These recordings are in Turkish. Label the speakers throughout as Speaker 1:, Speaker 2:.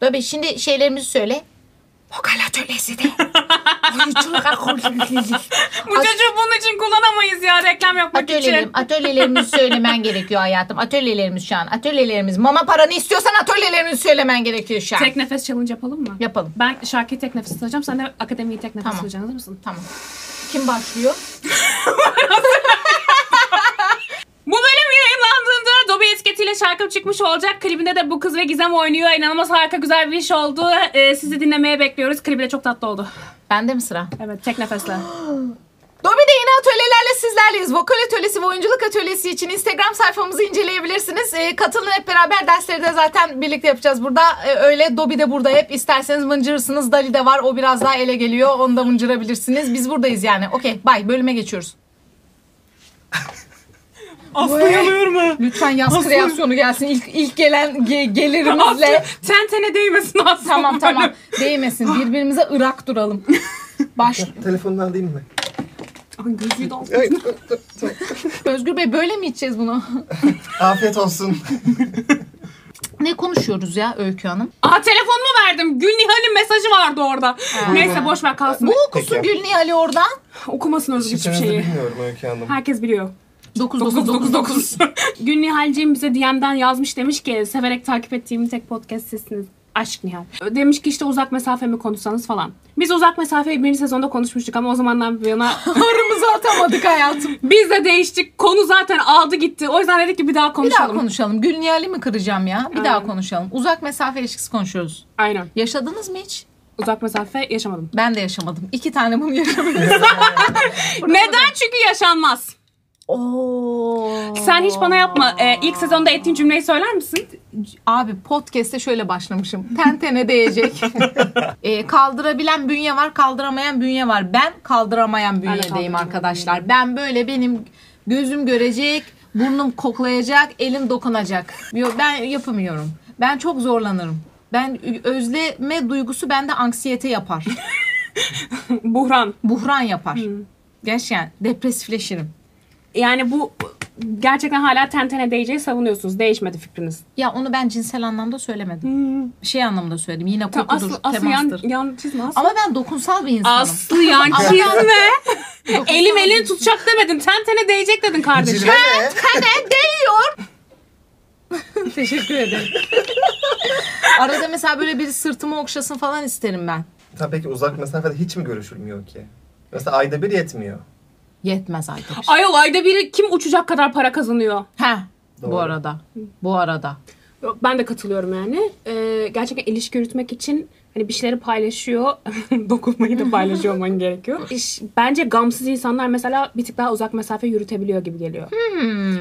Speaker 1: Böyle şimdi şeylerimizi söyle. Vokal atölyesi de.
Speaker 2: Bu çocuğu bunun için kullanamayız ya reklam yapmak
Speaker 1: Atölyelerim,
Speaker 2: için.
Speaker 1: atölyelerimizi söylemen gerekiyor hayatım. Atölyelerimiz şu an. Atölyelerimiz. Mama paranı istiyorsan atölyelerimizi söylemen gerekiyor şu an.
Speaker 2: Tek nefes challenge yapalım mı?
Speaker 1: Yapalım.
Speaker 2: Ben şarkıyı tek nefes tutacağım. Sen de akademiyi tek nefes
Speaker 1: Tamam.
Speaker 2: tutacaksın. Hazır mısın?
Speaker 1: Tamam. Kim başlıyor?
Speaker 2: Bu bölüm yayınlandığında Dobby etiketiyle şarkım çıkmış olacak. Klibinde de bu kız ve Gizem oynuyor. İnanılmaz harika güzel bir iş oldu. Ee, sizi dinlemeye bekliyoruz. Klibi de çok tatlı oldu.
Speaker 1: Bende mi sıra?
Speaker 2: Evet tek nefesle.
Speaker 1: Dobi de yeni atölyelerle sizlerleyiz. Vokal atölyesi ve oyunculuk atölyesi için Instagram sayfamızı inceleyebilirsiniz. Ee, katılın hep beraber dersleri de zaten birlikte yapacağız burada. Ee, öyle Dobi de burada hep. İsterseniz mıncırırsınız. Dali de var. O biraz daha ele geliyor. Onu da mıncırabilirsiniz. Biz buradayız yani. Okey. Bye. Bölüme geçiyoruz.
Speaker 2: Aslı yanıyor mu?
Speaker 1: Lütfen yaz kreasyonu gelsin. İlk, ilk gelen ge- gelirimizle.
Speaker 2: Aslı tentene Ah, değmesin Aslı.
Speaker 1: tamam tamam. Değmesin. Birbirimize ırak duralım. Baş.
Speaker 3: Telefondan alayım mı?
Speaker 2: Ay gözlüğü de al.
Speaker 1: Özgür Bey böyle mi içeceğiz bunu?
Speaker 3: Afiyet olsun.
Speaker 1: ne konuşuyoruz ya Öykü Hanım?
Speaker 2: Aa telefonumu verdim. Gül Nihal'in mesajı vardı orada. Neyse boş ver kalsın.
Speaker 1: Bu okusun Gülni Ali oradan.
Speaker 2: Okumasın özgür hiçbir
Speaker 3: Şifrenizi
Speaker 2: şeyi.
Speaker 3: şey bilmiyorum Öykü Hanım.
Speaker 2: Herkes biliyor.
Speaker 1: 9999.
Speaker 2: Gün Nihal'ciğim bize DM'den yazmış demiş ki severek takip ettiğim tek podcast sizsiniz. Aşk Nihal. Demiş ki işte uzak mesafe mi konuşsanız falan. Biz uzak mesafeyi birinci sezonda konuşmuştuk ama o zamandan bu yana
Speaker 1: Ağrımızı atamadık hayatım.
Speaker 2: biz de değiştik. Konu zaten aldı gitti. O yüzden dedik ki bir daha
Speaker 1: Bir
Speaker 2: konuşalım.
Speaker 1: daha konuşalım. Gülniyali mi kıracağım ya? Bir daha
Speaker 2: Aynen.
Speaker 1: konuşalım. Uzak mesafe ilişkisi konuşuyoruz.
Speaker 2: Aynen.
Speaker 1: Yaşadınız mı hiç?
Speaker 2: Uzak mesafe yaşamadım.
Speaker 1: Ben de yaşamadım. İki tane bunu yaşamadım.
Speaker 2: Neden? Çünkü yaşanmaz.
Speaker 1: Oo.
Speaker 2: Sen hiç bana yapma. Ee, ilk sezonda ettiğin cümleyi söyler misin?
Speaker 1: Abi podcast'te şöyle başlamışım. Tentene değecek. Ee, kaldırabilen bünye var, kaldıramayan bünye var. Ben kaldıramayan bünyedeyim
Speaker 2: kaldıramayan
Speaker 1: arkadaşlar. Ben böyle benim gözüm görecek, burnum koklayacak, elim dokunacak. Yo, Ben yapamıyorum. Ben çok zorlanırım. Ben özleme duygusu bende anksiyete yapar.
Speaker 2: Buhran.
Speaker 1: Buhran yapar.
Speaker 2: Hmm.
Speaker 1: Gerçekten depresifleşirim.
Speaker 2: Yani bu gerçekten hala tentene değeceği savunuyorsunuz. Değişmedi fikriniz.
Speaker 1: Ya onu ben cinsel anlamda söylemedim. Şey anlamda söyledim. Yine
Speaker 2: Tamam,
Speaker 1: kokudur,
Speaker 2: Aslı, Aslı yan,
Speaker 1: temastır.
Speaker 2: yan çizme Aslı.
Speaker 1: Ama ben dokunsal bir insanım.
Speaker 2: Aslı yan
Speaker 1: Ama-
Speaker 2: çizme. Elim elini tutacak demedin. Tentene değecek dedin kardeşim.
Speaker 3: Cilve ne?
Speaker 1: Kane değiyor. Teşekkür ederim. Arada mesela böyle biri sırtımı okşasın falan isterim ben.
Speaker 3: Tabii peki uzak mesafede hiç mi görüşülmüyor ki? Mesela ayda bir yetmiyor.
Speaker 1: Yetmez arkadaş.
Speaker 2: Ayol ayda biri kim uçacak kadar para kazanıyor?
Speaker 1: He. Bu
Speaker 3: Doğru.
Speaker 1: arada. Bu arada.
Speaker 2: Ben de katılıyorum yani. Ee, gerçekten ilişki yürütmek için hani bir şeyleri paylaşıyor. Dokunmayı da paylaşıyor olman gerekiyor. İş, bence gamsız insanlar mesela bir tık daha uzak mesafe yürütebiliyor gibi geliyor.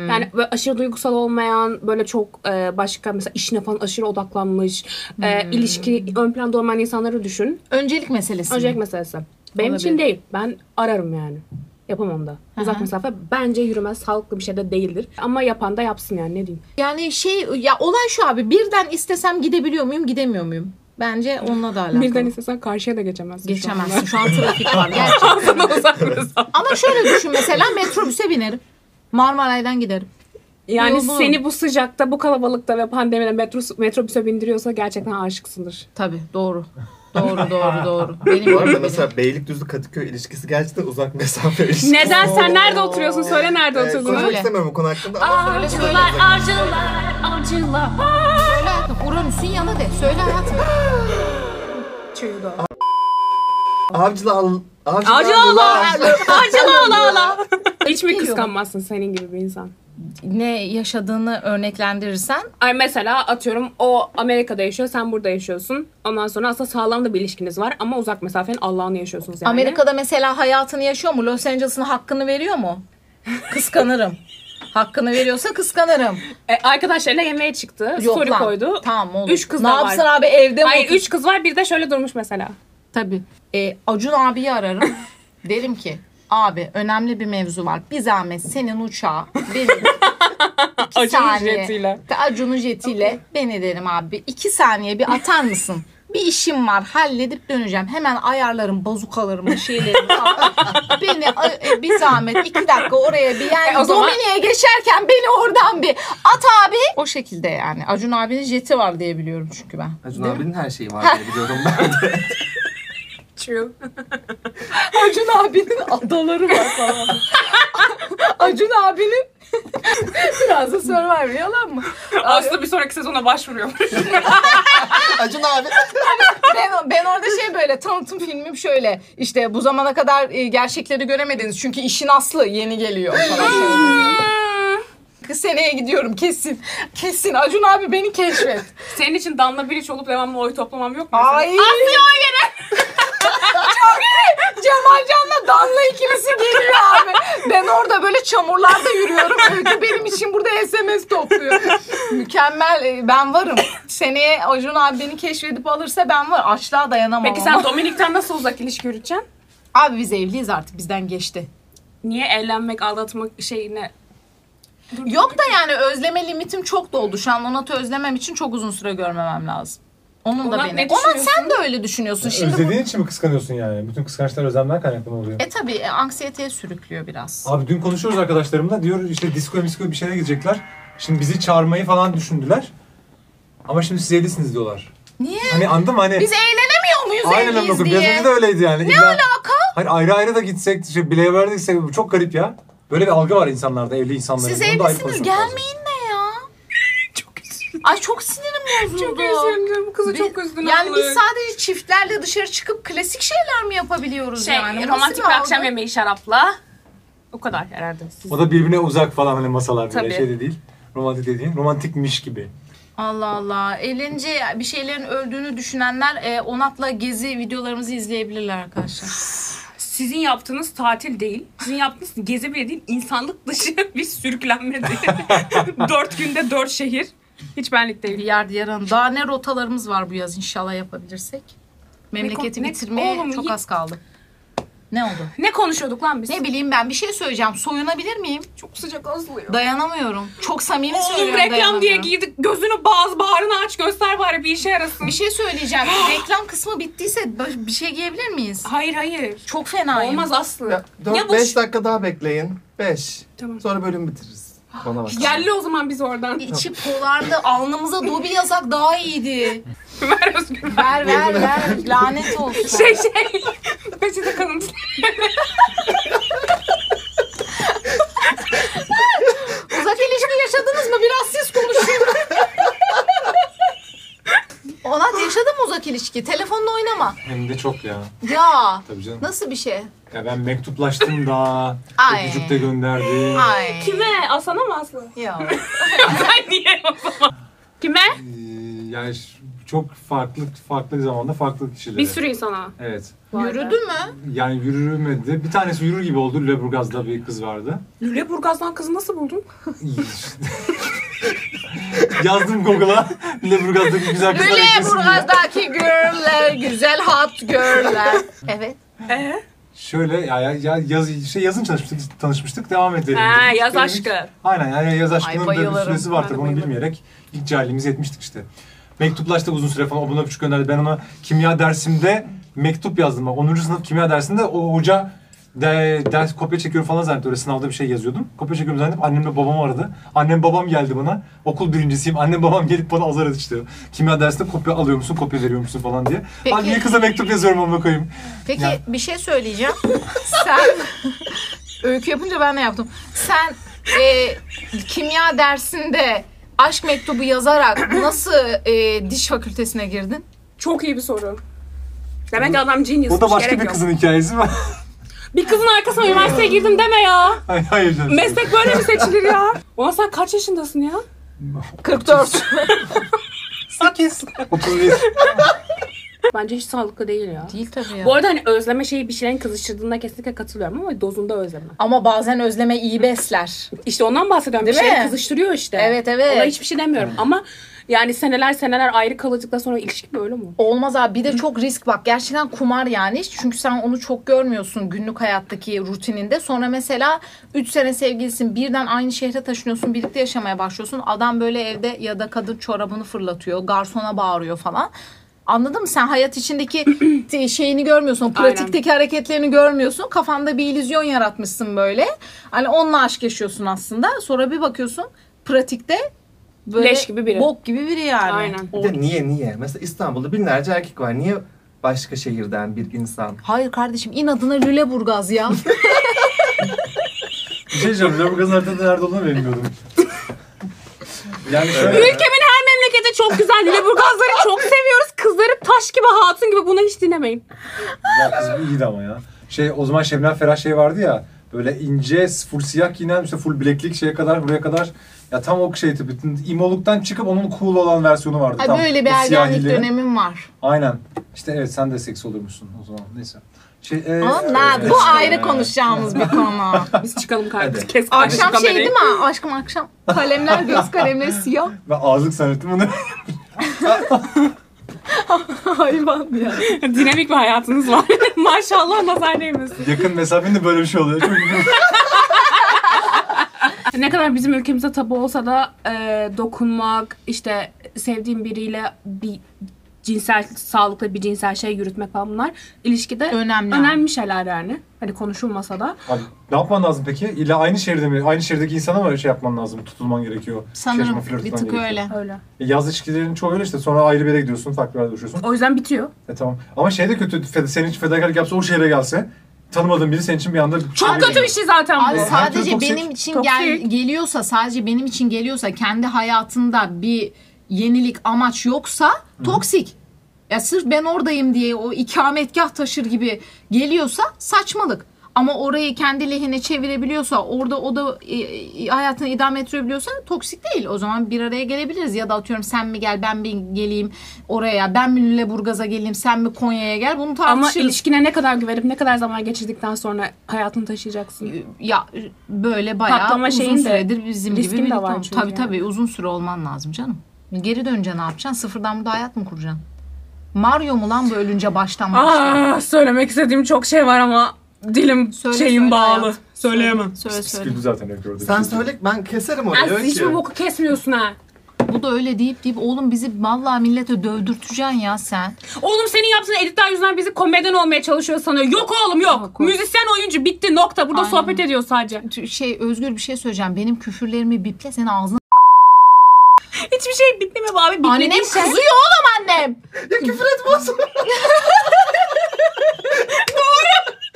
Speaker 2: Yani böyle aşırı duygusal olmayan, böyle çok e, başka mesela işine falan aşırı odaklanmış, e, ilişki ön planda olmayan insanları düşün.
Speaker 1: Öncelik meselesi.
Speaker 2: Öncelik meselesi. Benim için
Speaker 1: Olabilir.
Speaker 2: değil. Ben ararım yani. Yapamam da. Uzak mesafe bence yürümez. Sağlıklı bir şey de değildir. Ama yapan da yapsın yani ne diyeyim.
Speaker 1: Yani şey ya olay şu abi birden istesem gidebiliyor muyum gidemiyor muyum? Bence onunla da alakalı.
Speaker 2: Birden istesen karşıya da geçemezsin. şu
Speaker 1: Geçemezsin. Şu an trafik var. Gerçekten.
Speaker 2: anda. Ağzına uzak mesafe.
Speaker 1: Ama şöyle düşün mesela metrobüse binerim. Marmaray'dan giderim.
Speaker 2: Yani
Speaker 1: Yolun.
Speaker 2: seni bu sıcakta, bu kalabalıkta ve pandemide metro, metrobüse bindiriyorsa gerçekten aşıksındır.
Speaker 1: Tabii doğru. Doğru doğru doğru. Benim
Speaker 3: Bu arada
Speaker 1: benim.
Speaker 3: mesela Beylikdüzü Kadıköy ilişkisi gerçekten uzak mesafe ilişkisi.
Speaker 2: Neden? Sen nerede oturuyorsun? Söyle nerede
Speaker 3: Ee,
Speaker 2: oturduğunu.
Speaker 3: konuşmak
Speaker 1: Söyle.
Speaker 3: istemiyorum bu konu hakkında ama söyle söyle.
Speaker 2: acılar, acılar.
Speaker 1: Söyle hayatım. Uranüs'ün yanı de. Söyle hayatım.
Speaker 3: Avcılar... Avcılar...
Speaker 2: Avcılar- Acılar ala ala. Hiç mi
Speaker 1: Geliyor.
Speaker 2: kıskanmazsın senin gibi bir insan?
Speaker 1: ne yaşadığını örneklendirirsen
Speaker 2: Ay mesela atıyorum o Amerika'da yaşıyor, sen burada yaşıyorsun. Ondan sonra aslında sağlam da bir ilişkiniz var ama uzak mesafenin Allah'ını yaşıyorsunuz yani.
Speaker 1: Amerika'da mesela hayatını yaşıyor mu? Los Angeles'ın hakkını veriyor mu? Kıskanırım. hakkını veriyorsa kıskanırım.
Speaker 2: E, arkadaşlarıyla yemeğe çıktı,
Speaker 1: Yok
Speaker 2: story
Speaker 1: lan.
Speaker 2: koydu.
Speaker 1: Tamam olur.
Speaker 2: Üç kız
Speaker 1: ne
Speaker 2: da var.
Speaker 1: yapsın abi evde mi?
Speaker 2: Hayır
Speaker 1: otursun?
Speaker 2: üç kız var bir de şöyle durmuş mesela.
Speaker 1: Tabii. E, Acun abiyi ararım. Derim ki abi önemli bir mevzu var. Bir zahmet senin uçağı benim iki
Speaker 2: Acun'un
Speaker 1: saniye.
Speaker 2: jetiyle.
Speaker 1: Acun'un jetiyle beni derim abi. iki saniye bir atar mısın? bir işim var halledip döneceğim. Hemen ayarlarım bazukalarımı şeylerimi falan. beni e, bir zahmet iki dakika oraya bir yani
Speaker 2: E, o zaman-
Speaker 1: Domini'ye geçerken beni oradan bir at abi. O şekilde yani Acun abinin jeti var diye biliyorum çünkü ben.
Speaker 3: Acun abinin her şeyi var diye biliyorum ben de.
Speaker 2: True.
Speaker 1: Acun abinin adaları var falan. Acun abinin biraz da Survivor yalan mı?
Speaker 2: Aslında bir sonraki sezona başvuruyormuş.
Speaker 3: Acun abi.
Speaker 1: ben, ben orada şey böyle tanıtım filmim şöyle işte bu zamana kadar e, gerçekleri göremediniz çünkü işin aslı yeni geliyor falan.
Speaker 2: Hmm.
Speaker 1: Kız seneye gidiyorum kesin. Kesin Acun abi beni keşfet.
Speaker 2: Senin için Danla Bilic olup devamlı oy toplamam yok mu?
Speaker 1: Ay. Asya Çok iyi. Cemal Can'la Danla ikilisi geliyor abi. Ben orada böyle çamurlarda yürüyorum. Öykü benim için burada SMS topluyor. Mükemmel. e, Ben varım. Seneye Acun abi beni keşfedip alırsa ben var. Açlığa dayanamam.
Speaker 2: Peki
Speaker 1: ama.
Speaker 2: sen Dominik'ten nasıl uzak ilişki yürüteceksin?
Speaker 1: Abi biz evliyiz artık bizden geçti.
Speaker 2: Niye evlenmek, aldatmak şeyine...
Speaker 1: Yok da yani özleme limitim çok doldu. Şu an Onat'ı özlemem için çok uzun süre görmemem lazım. Onun da
Speaker 2: Onat
Speaker 1: beni.
Speaker 2: ne
Speaker 1: Onat sen
Speaker 2: düşünüyorsun?
Speaker 1: de öyle düşünüyorsun. Şimdi bu-
Speaker 4: E, Özlediğin için mi kıskanıyorsun yani? Bütün kıskançlar özlemden kaynaklı mı oluyor?
Speaker 1: E tabii e, anksiyeteye sürüklüyor biraz.
Speaker 4: Abi dün konuşuyoruz arkadaşlarımla. Diyor işte diskoya miskoya bir şeylere gidecekler. Şimdi bizi çağırmayı falan düşündüler. Ama şimdi siz evlisiniz diyorlar.
Speaker 1: Niye?
Speaker 4: Hani anladın mı? Hani
Speaker 1: Biz eğlenemiyor muyuz
Speaker 4: aynen
Speaker 1: evliyiz
Speaker 4: anladım. Biraz
Speaker 1: diye?
Speaker 4: önce de öyleydi yani.
Speaker 1: Ne
Speaker 4: İlla-
Speaker 1: alaka?
Speaker 4: Hani ayrı ayrı da gitsek, şey, bileğe verdiksek bu çok garip ya. Böyle bir algı var insanlarda, evli insanların.
Speaker 1: Siz
Speaker 4: Bunu da ayrı
Speaker 1: evlisiniz
Speaker 4: konuşmak lazım.
Speaker 1: gelmeyin ne ya?
Speaker 2: Çok üzüldüm.
Speaker 1: Ay çok sinirim bozuldu.
Speaker 2: Çok üzüldüm. Kızı
Speaker 1: Biz-
Speaker 2: çok üzdün.
Speaker 1: Yani biz
Speaker 2: Allah'ım.
Speaker 1: sadece çiftlerle dışarı çıkıp klasik şeyler mi yapabiliyoruz
Speaker 2: şey,
Speaker 1: yani? Bu
Speaker 2: romantik
Speaker 1: nasıl
Speaker 2: bir akşam
Speaker 1: algı?
Speaker 2: yemeği şarapla. O kadar herhalde. Siz.
Speaker 4: O da birbirine uzak falan hani masalar
Speaker 2: Tabii.
Speaker 4: böyle şey de değil. Romantik dediğin, romantikmiş gibi.
Speaker 1: Allah Allah. Eğlence bir şeylerin öldüğünü düşünenler e, Onat'la gezi videolarımızı izleyebilirler arkadaşlar.
Speaker 2: Sizin yaptığınız tatil değil. Sizin yaptığınız gezi bile değil. İnsanlık dışı bir sürüklenmedi. dört günde dört şehir. Hiç benlik değil.
Speaker 1: Yer yarın. Daha ne rotalarımız var bu yaz inşallah yapabilirsek. Memleketi
Speaker 2: Ne-
Speaker 1: bitirmeye
Speaker 2: oğlum,
Speaker 1: çok
Speaker 2: ye-
Speaker 1: az kaldı. Ne oldu?
Speaker 2: Ne konuşuyorduk lan biz?
Speaker 1: Ne bileyim ben bir şey söyleyeceğim. Soyunabilir miyim?
Speaker 2: Çok sıcak azlıyor.
Speaker 1: Dayanamıyorum. Çok samimi
Speaker 2: Oğlum
Speaker 1: söylüyorum
Speaker 2: reklam diye
Speaker 1: dayanamıyorum.
Speaker 2: giydik. Gözünü bağız, bağrını aç, göster bari bir işe yarasın.
Speaker 1: Bir şey söyleyeceğim. reklam kısmı bittiyse böyle bir şey giyebilir miyiz?
Speaker 2: Hayır hayır.
Speaker 1: Çok fenayım.
Speaker 2: Olmaz Aslı. Ya bu
Speaker 3: 4-5 dakika daha bekleyin. 5.
Speaker 2: Tamam.
Speaker 3: Sonra bölüm bitiririz. Bana bak.
Speaker 2: Yerli o zaman biz oradan.
Speaker 1: İçi polardı. Alnımıza dobi yazak daha iyiydi.
Speaker 2: Ver Özgür.
Speaker 1: Ver ver ver. Lanet olsun.
Speaker 2: Şey şey. Peçete kalın.
Speaker 1: Uzak ilişki yaşadınız mı? Biraz siz konuşun. Onat yaşadı mı uzak ilişki? Telefonla oynama.
Speaker 4: Hem de çok ya.
Speaker 1: Ya.
Speaker 4: Tabii canım.
Speaker 1: Nasıl bir şey?
Speaker 4: Ya ben mektuplaştım da,
Speaker 1: Ay.
Speaker 4: öpücük de gönderdim.
Speaker 1: Ay.
Speaker 2: Kime? Aslan'a mı Aslı?
Speaker 1: Ya.
Speaker 2: Sen niye o zaman? Kime?
Speaker 4: Ee, yani ş- çok farklı farklı zamanda farklı kişilere.
Speaker 2: Bir sürü insana.
Speaker 4: Evet.
Speaker 1: Yürüdü mü?
Speaker 4: Yani yürümedi. Bir tanesi yürür gibi oldu. Lüleburgaz'da bir kız vardı.
Speaker 2: Lüleburgaz'dan kızı nasıl buldun?
Speaker 4: Yazdım Google'a. Lüleburgaz'daki güzel kızlar eklesin diye.
Speaker 1: Lüleburgaz'daki girl'ler, güzel hot girl'ler. Evet.
Speaker 2: Ee?
Speaker 4: Şöyle ya, ya, ya yaz, şey yazın tanışmıştık, tanışmıştık devam edelim.
Speaker 2: Ha,
Speaker 4: dedik.
Speaker 2: yaz
Speaker 4: Dedik.
Speaker 2: aşkı.
Speaker 4: Aynen yani yaz
Speaker 1: Ay,
Speaker 4: aşkının da bir
Speaker 1: bayılırım.
Speaker 4: süresi
Speaker 2: Ben
Speaker 4: var
Speaker 2: de
Speaker 4: tabii onu
Speaker 2: bayılırım.
Speaker 4: bilmeyerek ilk cahilliğimizi etmiştik işte. Mektuplaştık uzun süre falan o bana küçük gönderdi. Ben ona kimya dersimde mektup yazdım. Bak, 10. sınıf kimya dersinde o hoca de, ders kopya çekiyorum falan zannetti. Öyle sınavda bir şey yazıyordum. Kopya çekiyorum zannedip annemle babam aradı. Annem babam geldi bana. Okul birincisiyim. Annem babam gelip bana azar etti işte. Kimya dersinde kopya alıyor musun, kopya veriyor musun falan diye.
Speaker 1: Peki.
Speaker 4: Abi niye kıza mektup yazıyorum amına koyayım.
Speaker 1: Peki
Speaker 4: Ya.
Speaker 1: bir şey söyleyeceğim. Sen öykü yapınca ben de yaptım. Sen e, kimya dersinde aşk mektubu yazarak nasıl e, diş fakültesine girdin?
Speaker 2: Çok iyi bir soru. Demek ki adam genius.
Speaker 4: O da başka
Speaker 2: gerek
Speaker 4: bir
Speaker 2: yok.
Speaker 4: kızın hikayesi mi?
Speaker 2: Bir kızın arkasına üniversiteye girdim deme ya.
Speaker 4: Hayır, hayır canım.
Speaker 2: Meslek böyle mi seçilir ya? Ulan sen kaç yaşındasın ya?
Speaker 1: 44.
Speaker 4: 8. 31.
Speaker 2: Bence hiç sağlıklı değil ya.
Speaker 1: Değil tabii ya.
Speaker 2: Bu arada hani özleme şeyi bir şeylerin kızıştırdığına kesinlikle katılıyorum ama dozunda özleme.
Speaker 1: Ama bazen özleme iyi besler.
Speaker 2: İşte ondan bahsediyorum.
Speaker 1: Değil
Speaker 2: bir şey
Speaker 1: mi?
Speaker 2: kızıştırıyor işte.
Speaker 1: Evet, evet.
Speaker 2: Ona hiçbir şey demiyorum ama yani seneler seneler ayrı kalacaktan sonra ilişki böyle mi?
Speaker 1: Olmaz abi. Bir de çok risk bak. Gerçekten kumar yani. Çünkü sen onu çok görmüyorsun günlük hayattaki rutininde. Sonra mesela 3 sene sevgilisin. Birden aynı şehre taşınıyorsun. Birlikte yaşamaya başlıyorsun. Adam böyle evde ya da kadın çorabını fırlatıyor. Garsona bağırıyor falan. Anladın mı? Sen hayat içindeki t- şeyini görmüyorsun. O pratikteki hareketlerini görmüyorsun. Kafanda bir illüzyon yaratmışsın böyle. Hani onunla aşk yaşıyorsun aslında. Sonra bir bakıyorsun pratikte böyle
Speaker 2: Leş gibi biri.
Speaker 1: bok gibi biri yani.
Speaker 2: Aynen.
Speaker 1: O-
Speaker 3: Bir de niye niye? Mesela İstanbul'da binlerce erkek var. Niye başka şehirden bir insan?
Speaker 1: Hayır kardeşim inadına Lüleburgaz ya.
Speaker 4: Bir şey diyeceğim. Lüleburgaz'ın haritada nerede olduğunu bilmiyordum. yani şöyle.
Speaker 2: Ülkemin her memleketi çok güzel. Lüleburgazları çok seviyoruz. Kızları taş gibi hatun gibi. Bunu hiç dinlemeyin.
Speaker 4: ya kız bu iyiydi ama ya. Şey o zaman Şebnem Ferah şey vardı ya. Böyle ince full siyah giyinen işte full bileklik şeye kadar buraya kadar. Ya tam o şey tipi. İmoluktan çıkıp onun cool olan versiyonu vardı.
Speaker 1: Ay,
Speaker 4: tam.
Speaker 1: böyle bir
Speaker 4: O
Speaker 1: ergenlik
Speaker 4: siyahili.
Speaker 1: dönemim var.
Speaker 4: Aynen. İşte evet sen de seks olurmuşsun o zaman. Neyse. Şey, e,
Speaker 1: Onlar,
Speaker 4: e,
Speaker 1: bu
Speaker 4: e,
Speaker 1: ayrı konuşacağımız bir konu.
Speaker 2: Biz çıkalım kardeşim.
Speaker 3: Hadi.
Speaker 2: Kes kardeşim
Speaker 1: Akşam şey
Speaker 2: kamerayı.
Speaker 1: değil mi? Aşkım akşam. Kalemler göz kalemleri siyah.
Speaker 4: Ben ağızlık sanatım bunu.
Speaker 1: Hayvan ya.
Speaker 2: Dinamik bir hayatınız var. Maşallah nazar değmesin.
Speaker 4: Yakın mesafenin de böyle bir şey oluyor. Çok ilginç.
Speaker 2: Ne kadar bizim ülkemizde tabu olsa da e, dokunmak, işte sevdiğim biriyle bir cinsel, sağlıklı bir cinsel şey yürütmek falan bunlar ilişkide
Speaker 1: Önemli.
Speaker 2: önemli şeyler yani. Hani konuşulmasa da.
Speaker 4: Abi, ne yapman lazım peki? İlla aynı şehirde mi? Aynı şehirdeki insana mı şey yapman lazım? Tutulman gerekiyor. şey
Speaker 1: Sanırım
Speaker 4: yapman, flört
Speaker 1: bir
Speaker 4: etmen
Speaker 1: tık
Speaker 4: gerekiyor?
Speaker 1: öyle.
Speaker 2: Öyle.
Speaker 4: E, yaz ilişkilerin çoğu öyle işte. Sonra ayrı bir yere gidiyorsun. Farklı bir yerde yaşıyorsun.
Speaker 2: O yüzden bitiyor.
Speaker 4: E tamam. Ama şey de kötü. Fed- senin için fedakarlık yapsa o şehre gelse. Tanımadığın biri senin için bir anda...
Speaker 2: Çok kötü bir şey zaten bu.
Speaker 1: Abi
Speaker 4: Her türlü
Speaker 1: sadece
Speaker 4: toksik.
Speaker 1: benim için gel,
Speaker 2: Toksik.
Speaker 1: geliyorsa sadece benim için geliyorsa kendi hayatında bir yenilik amaç yoksa toksik. Ya sırf ben oradayım diye o ikametgah taşır gibi geliyorsa saçmalık. Ama orayı kendi lehine çevirebiliyorsa, orada o da e, e, hayatını idame ettirebiliyorsa toksik değil. O zaman bir araya gelebiliriz. Ya da atıyorum sen mi gel, ben mi geleyim oraya, ben mi Lüleburgaz'a geleyim, sen mi Konya'ya gel. Bunu
Speaker 2: Ama
Speaker 1: tartışırız.
Speaker 2: ilişkine ne kadar güvenip ne kadar zaman geçirdikten sonra hayatını taşıyacaksın.
Speaker 1: ya böyle bayağı
Speaker 2: Patlama
Speaker 1: uzun
Speaker 2: şeyin de,
Speaker 1: süredir bizim gibi
Speaker 2: riskin de
Speaker 1: birlikte
Speaker 2: var
Speaker 1: olmuş.
Speaker 2: çünkü
Speaker 1: Tabii
Speaker 2: yani.
Speaker 1: tabii uzun süre olman lazım canım. Geri döneceksin ne yapacaksın? Sıfırdan burada hayat mı kuracaksın? Mario mu lan bu ölünce baştan başlayan?
Speaker 2: Aa, Ah, söylemek istediğim çok şey var ama dilim
Speaker 1: Söyle,
Speaker 2: şeyim
Speaker 1: söyle
Speaker 2: bağlı.
Speaker 1: hayatım.
Speaker 2: Söyleyemem.
Speaker 1: Söyle şey söyle.
Speaker 4: Sıkıldı zaten hep gördüğüm
Speaker 3: Sen
Speaker 4: şey.
Speaker 3: söyle ben keserim onu.
Speaker 2: Ay,
Speaker 3: Yok
Speaker 2: hiç
Speaker 3: ki.
Speaker 2: mi boku kesmiyorsun ha?
Speaker 1: Bu da öyle deyip deyip oğlum bizi vallahi millete dövdürteceksin ya sen.
Speaker 2: Oğlum senin yaptığın editler yüzünden bizi komedyen olmaya çalışıyor sanıyor. Yok oğlum yok.
Speaker 1: Yok, yok.
Speaker 2: Müzisyen oyuncu bitti nokta. Burada
Speaker 1: Aynen.
Speaker 2: sohbet ediyor sadece.
Speaker 1: T- Şey Özgür bir şey söyleyeceğim. Benim küfürlerimi biple senin ağzına.
Speaker 2: Hiçbir şey bitti mi bu abi? Bitmediği
Speaker 1: Annem
Speaker 2: şey-
Speaker 1: kızıyor oğlum annem.
Speaker 3: Ya küfür etme o zaman.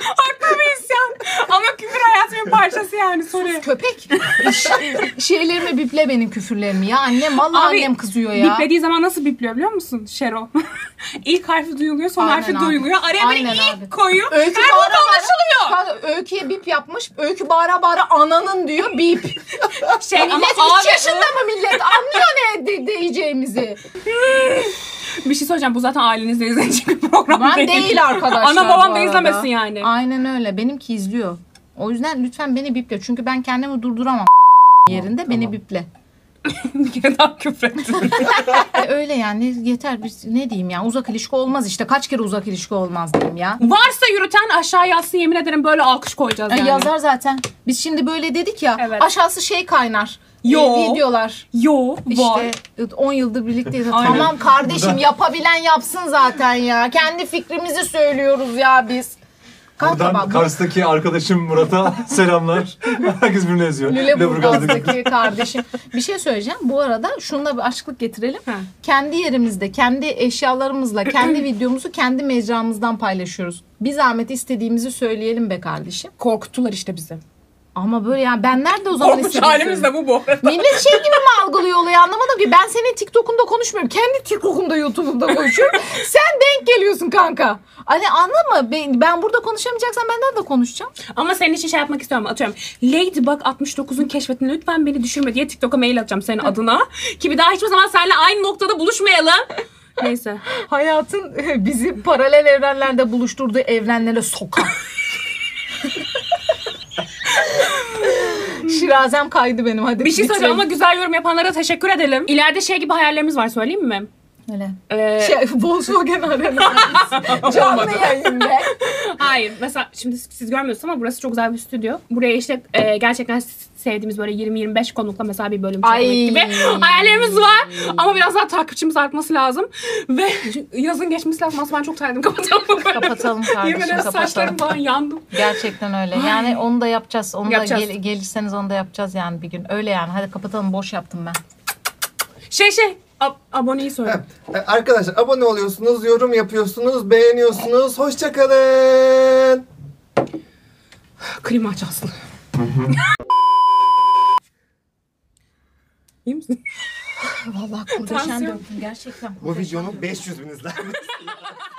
Speaker 2: Haklı bir isyan. Ama küfür hayatımın bir parçası yani soruyor.
Speaker 1: Köpek. Ş- Şeylerimi biple benim küfürlerimi ya annem. Vallahi
Speaker 2: Abi,
Speaker 1: annem kızıyor ya.
Speaker 2: Biplediği zaman nasıl bipliyor biliyor musun? Şero. İlk harfi duyuluyor, son
Speaker 1: Aynen
Speaker 2: harfi
Speaker 1: abi.
Speaker 2: duyuluyor. Araya böyle
Speaker 1: Aynen
Speaker 2: ilk
Speaker 1: abi.
Speaker 2: koyuyor.
Speaker 1: Öykü
Speaker 2: Her
Speaker 1: bağıra
Speaker 2: burada
Speaker 1: bağıra-
Speaker 2: anlaşılıyor.
Speaker 1: Kanka, öyküye bip yapmış. Öykü bağıra bağıra ananın diyor bip.
Speaker 2: Şey,
Speaker 1: Millet
Speaker 2: abi-
Speaker 1: 3 yaşında mı millet? Anlıyor ne de- diyeceğimizi.
Speaker 2: Bir şey söyleyeceğim. Bu zaten ailenizle izlenecek bir program
Speaker 1: Ben değil arkadaşlar
Speaker 2: Ana
Speaker 1: bu
Speaker 2: babam da
Speaker 1: arada.
Speaker 2: izlemesin yani.
Speaker 1: Aynen öyle. Benimki izliyor. O yüzden lütfen beni biple. Çünkü ben kendimi durduramam yerinde beni biple.
Speaker 2: bir kere daha küfrettim.
Speaker 1: E, öyle yani yeter biz ne diyeyim ya uzak ilişki olmaz işte kaç kere uzak ilişki olmaz diyeyim ya.
Speaker 2: Varsa yürüten aşağı yazsın yemin ederim böyle alkış koyacağız
Speaker 1: E,
Speaker 2: yani.
Speaker 1: Yazar zaten. Biz şimdi böyle dedik ya
Speaker 2: Evet.
Speaker 1: aşağısı şey kaynar. E,
Speaker 2: Yo.
Speaker 1: Videolar.
Speaker 2: Yo var.
Speaker 1: İşte 10 yıldır birlikteyiz.
Speaker 2: Aynen.
Speaker 1: tamam kardeşim yapabilen yapsın zaten ya. Kendi fikrimizi söylüyoruz ya biz. Kalk da
Speaker 4: Buradan
Speaker 1: bak.
Speaker 4: Kars'taki arkadaşım Murat'a selamlar. Herkes birbirini eziyor. Lüleburgaz'daki.
Speaker 1: Lüleburgaz'daki kardeşim. Bir şey söyleyeceğim. Bu arada şununla bir açıklık getirelim.
Speaker 2: Ha.
Speaker 1: Kendi yerimizde, kendi eşyalarımızla, kendi videomuzu kendi mecramızdan paylaşıyoruz. Bir zahmet istediğimizi söyleyelim be kardeşim.
Speaker 2: Korkuttular işte bizi.
Speaker 1: Ama böyle yani ben nerede o zaman
Speaker 2: Korkunç
Speaker 1: istediğimi
Speaker 2: halimiz de bu bu arada.
Speaker 1: Millet şey gibi mi algılıyor olayı anlamadım ki. Ben senin TikTok'unda konuşmuyorum. Kendi TikTok'umda YouTube'umda konuşuyorum. Sen denk geliyorsun kanka. Hani anlama ben, ben burada konuşamayacaksam ben nerede konuşacağım?
Speaker 2: Ama senin için şey yapmak istiyorum. Atıyorum. Ladybug 69'un keşfetini lütfen beni düşürme diye TikTok'a mail atacağım senin adına. Ki bir daha hiçbir zaman seninle aynı noktada buluşmayalım. Neyse.
Speaker 1: Hayatın bizi paralel evrenlerde buluşturduğu evrenlere sokan. Şirazem kaydı benim hadi.
Speaker 2: Bir şey
Speaker 1: bitirelim.
Speaker 2: söyleyeceğim ama güzel yorum yapanlara teşekkür edelim. İleride şey gibi hayallerimiz var söyleyeyim mi?
Speaker 1: Öyle.
Speaker 2: Ee,
Speaker 1: Şey, Volkswagen aramız. Canlı yayında.
Speaker 2: Hayır mesela şimdi siz görmüyorsunuz ama burası çok güzel bir stüdyo. Buraya işte e, gerçekten sevdiğimiz böyle 20-25 konukla mesela bir bölüm çekmek
Speaker 1: Ay.
Speaker 2: gibi hayallerimiz var. Ama biraz daha takipçimiz artması lazım. Ve yazın geçmesi lazım. Aslında ben çok terledim kapatalım. bu bölümü.
Speaker 1: Kapatalım kardeşim,
Speaker 2: Yemin ederim
Speaker 1: kapatalım.
Speaker 2: saçlarım falan yandım.
Speaker 1: Gerçekten öyle. Yani onu da yapacağız. Onu
Speaker 2: Yapacağız.
Speaker 1: da gel- gelirseniz onu da yapacağız yani bir gün. Öyle yani. Hadi kapatalım. Boş yaptım ben.
Speaker 2: Şey şey ab- aboneyi söyle.
Speaker 3: E, Arkadaşlar abone oluyorsunuz, yorum yapıyorsunuz, beğeniyorsunuz. Hoşçakalın.
Speaker 2: Klima aç Aslı. İyi misin?
Speaker 1: Vallahi kurdeşen
Speaker 2: Tansiyon.
Speaker 1: döktüm. Gerçekten
Speaker 3: Bu videonun 500 bin izlenmesi.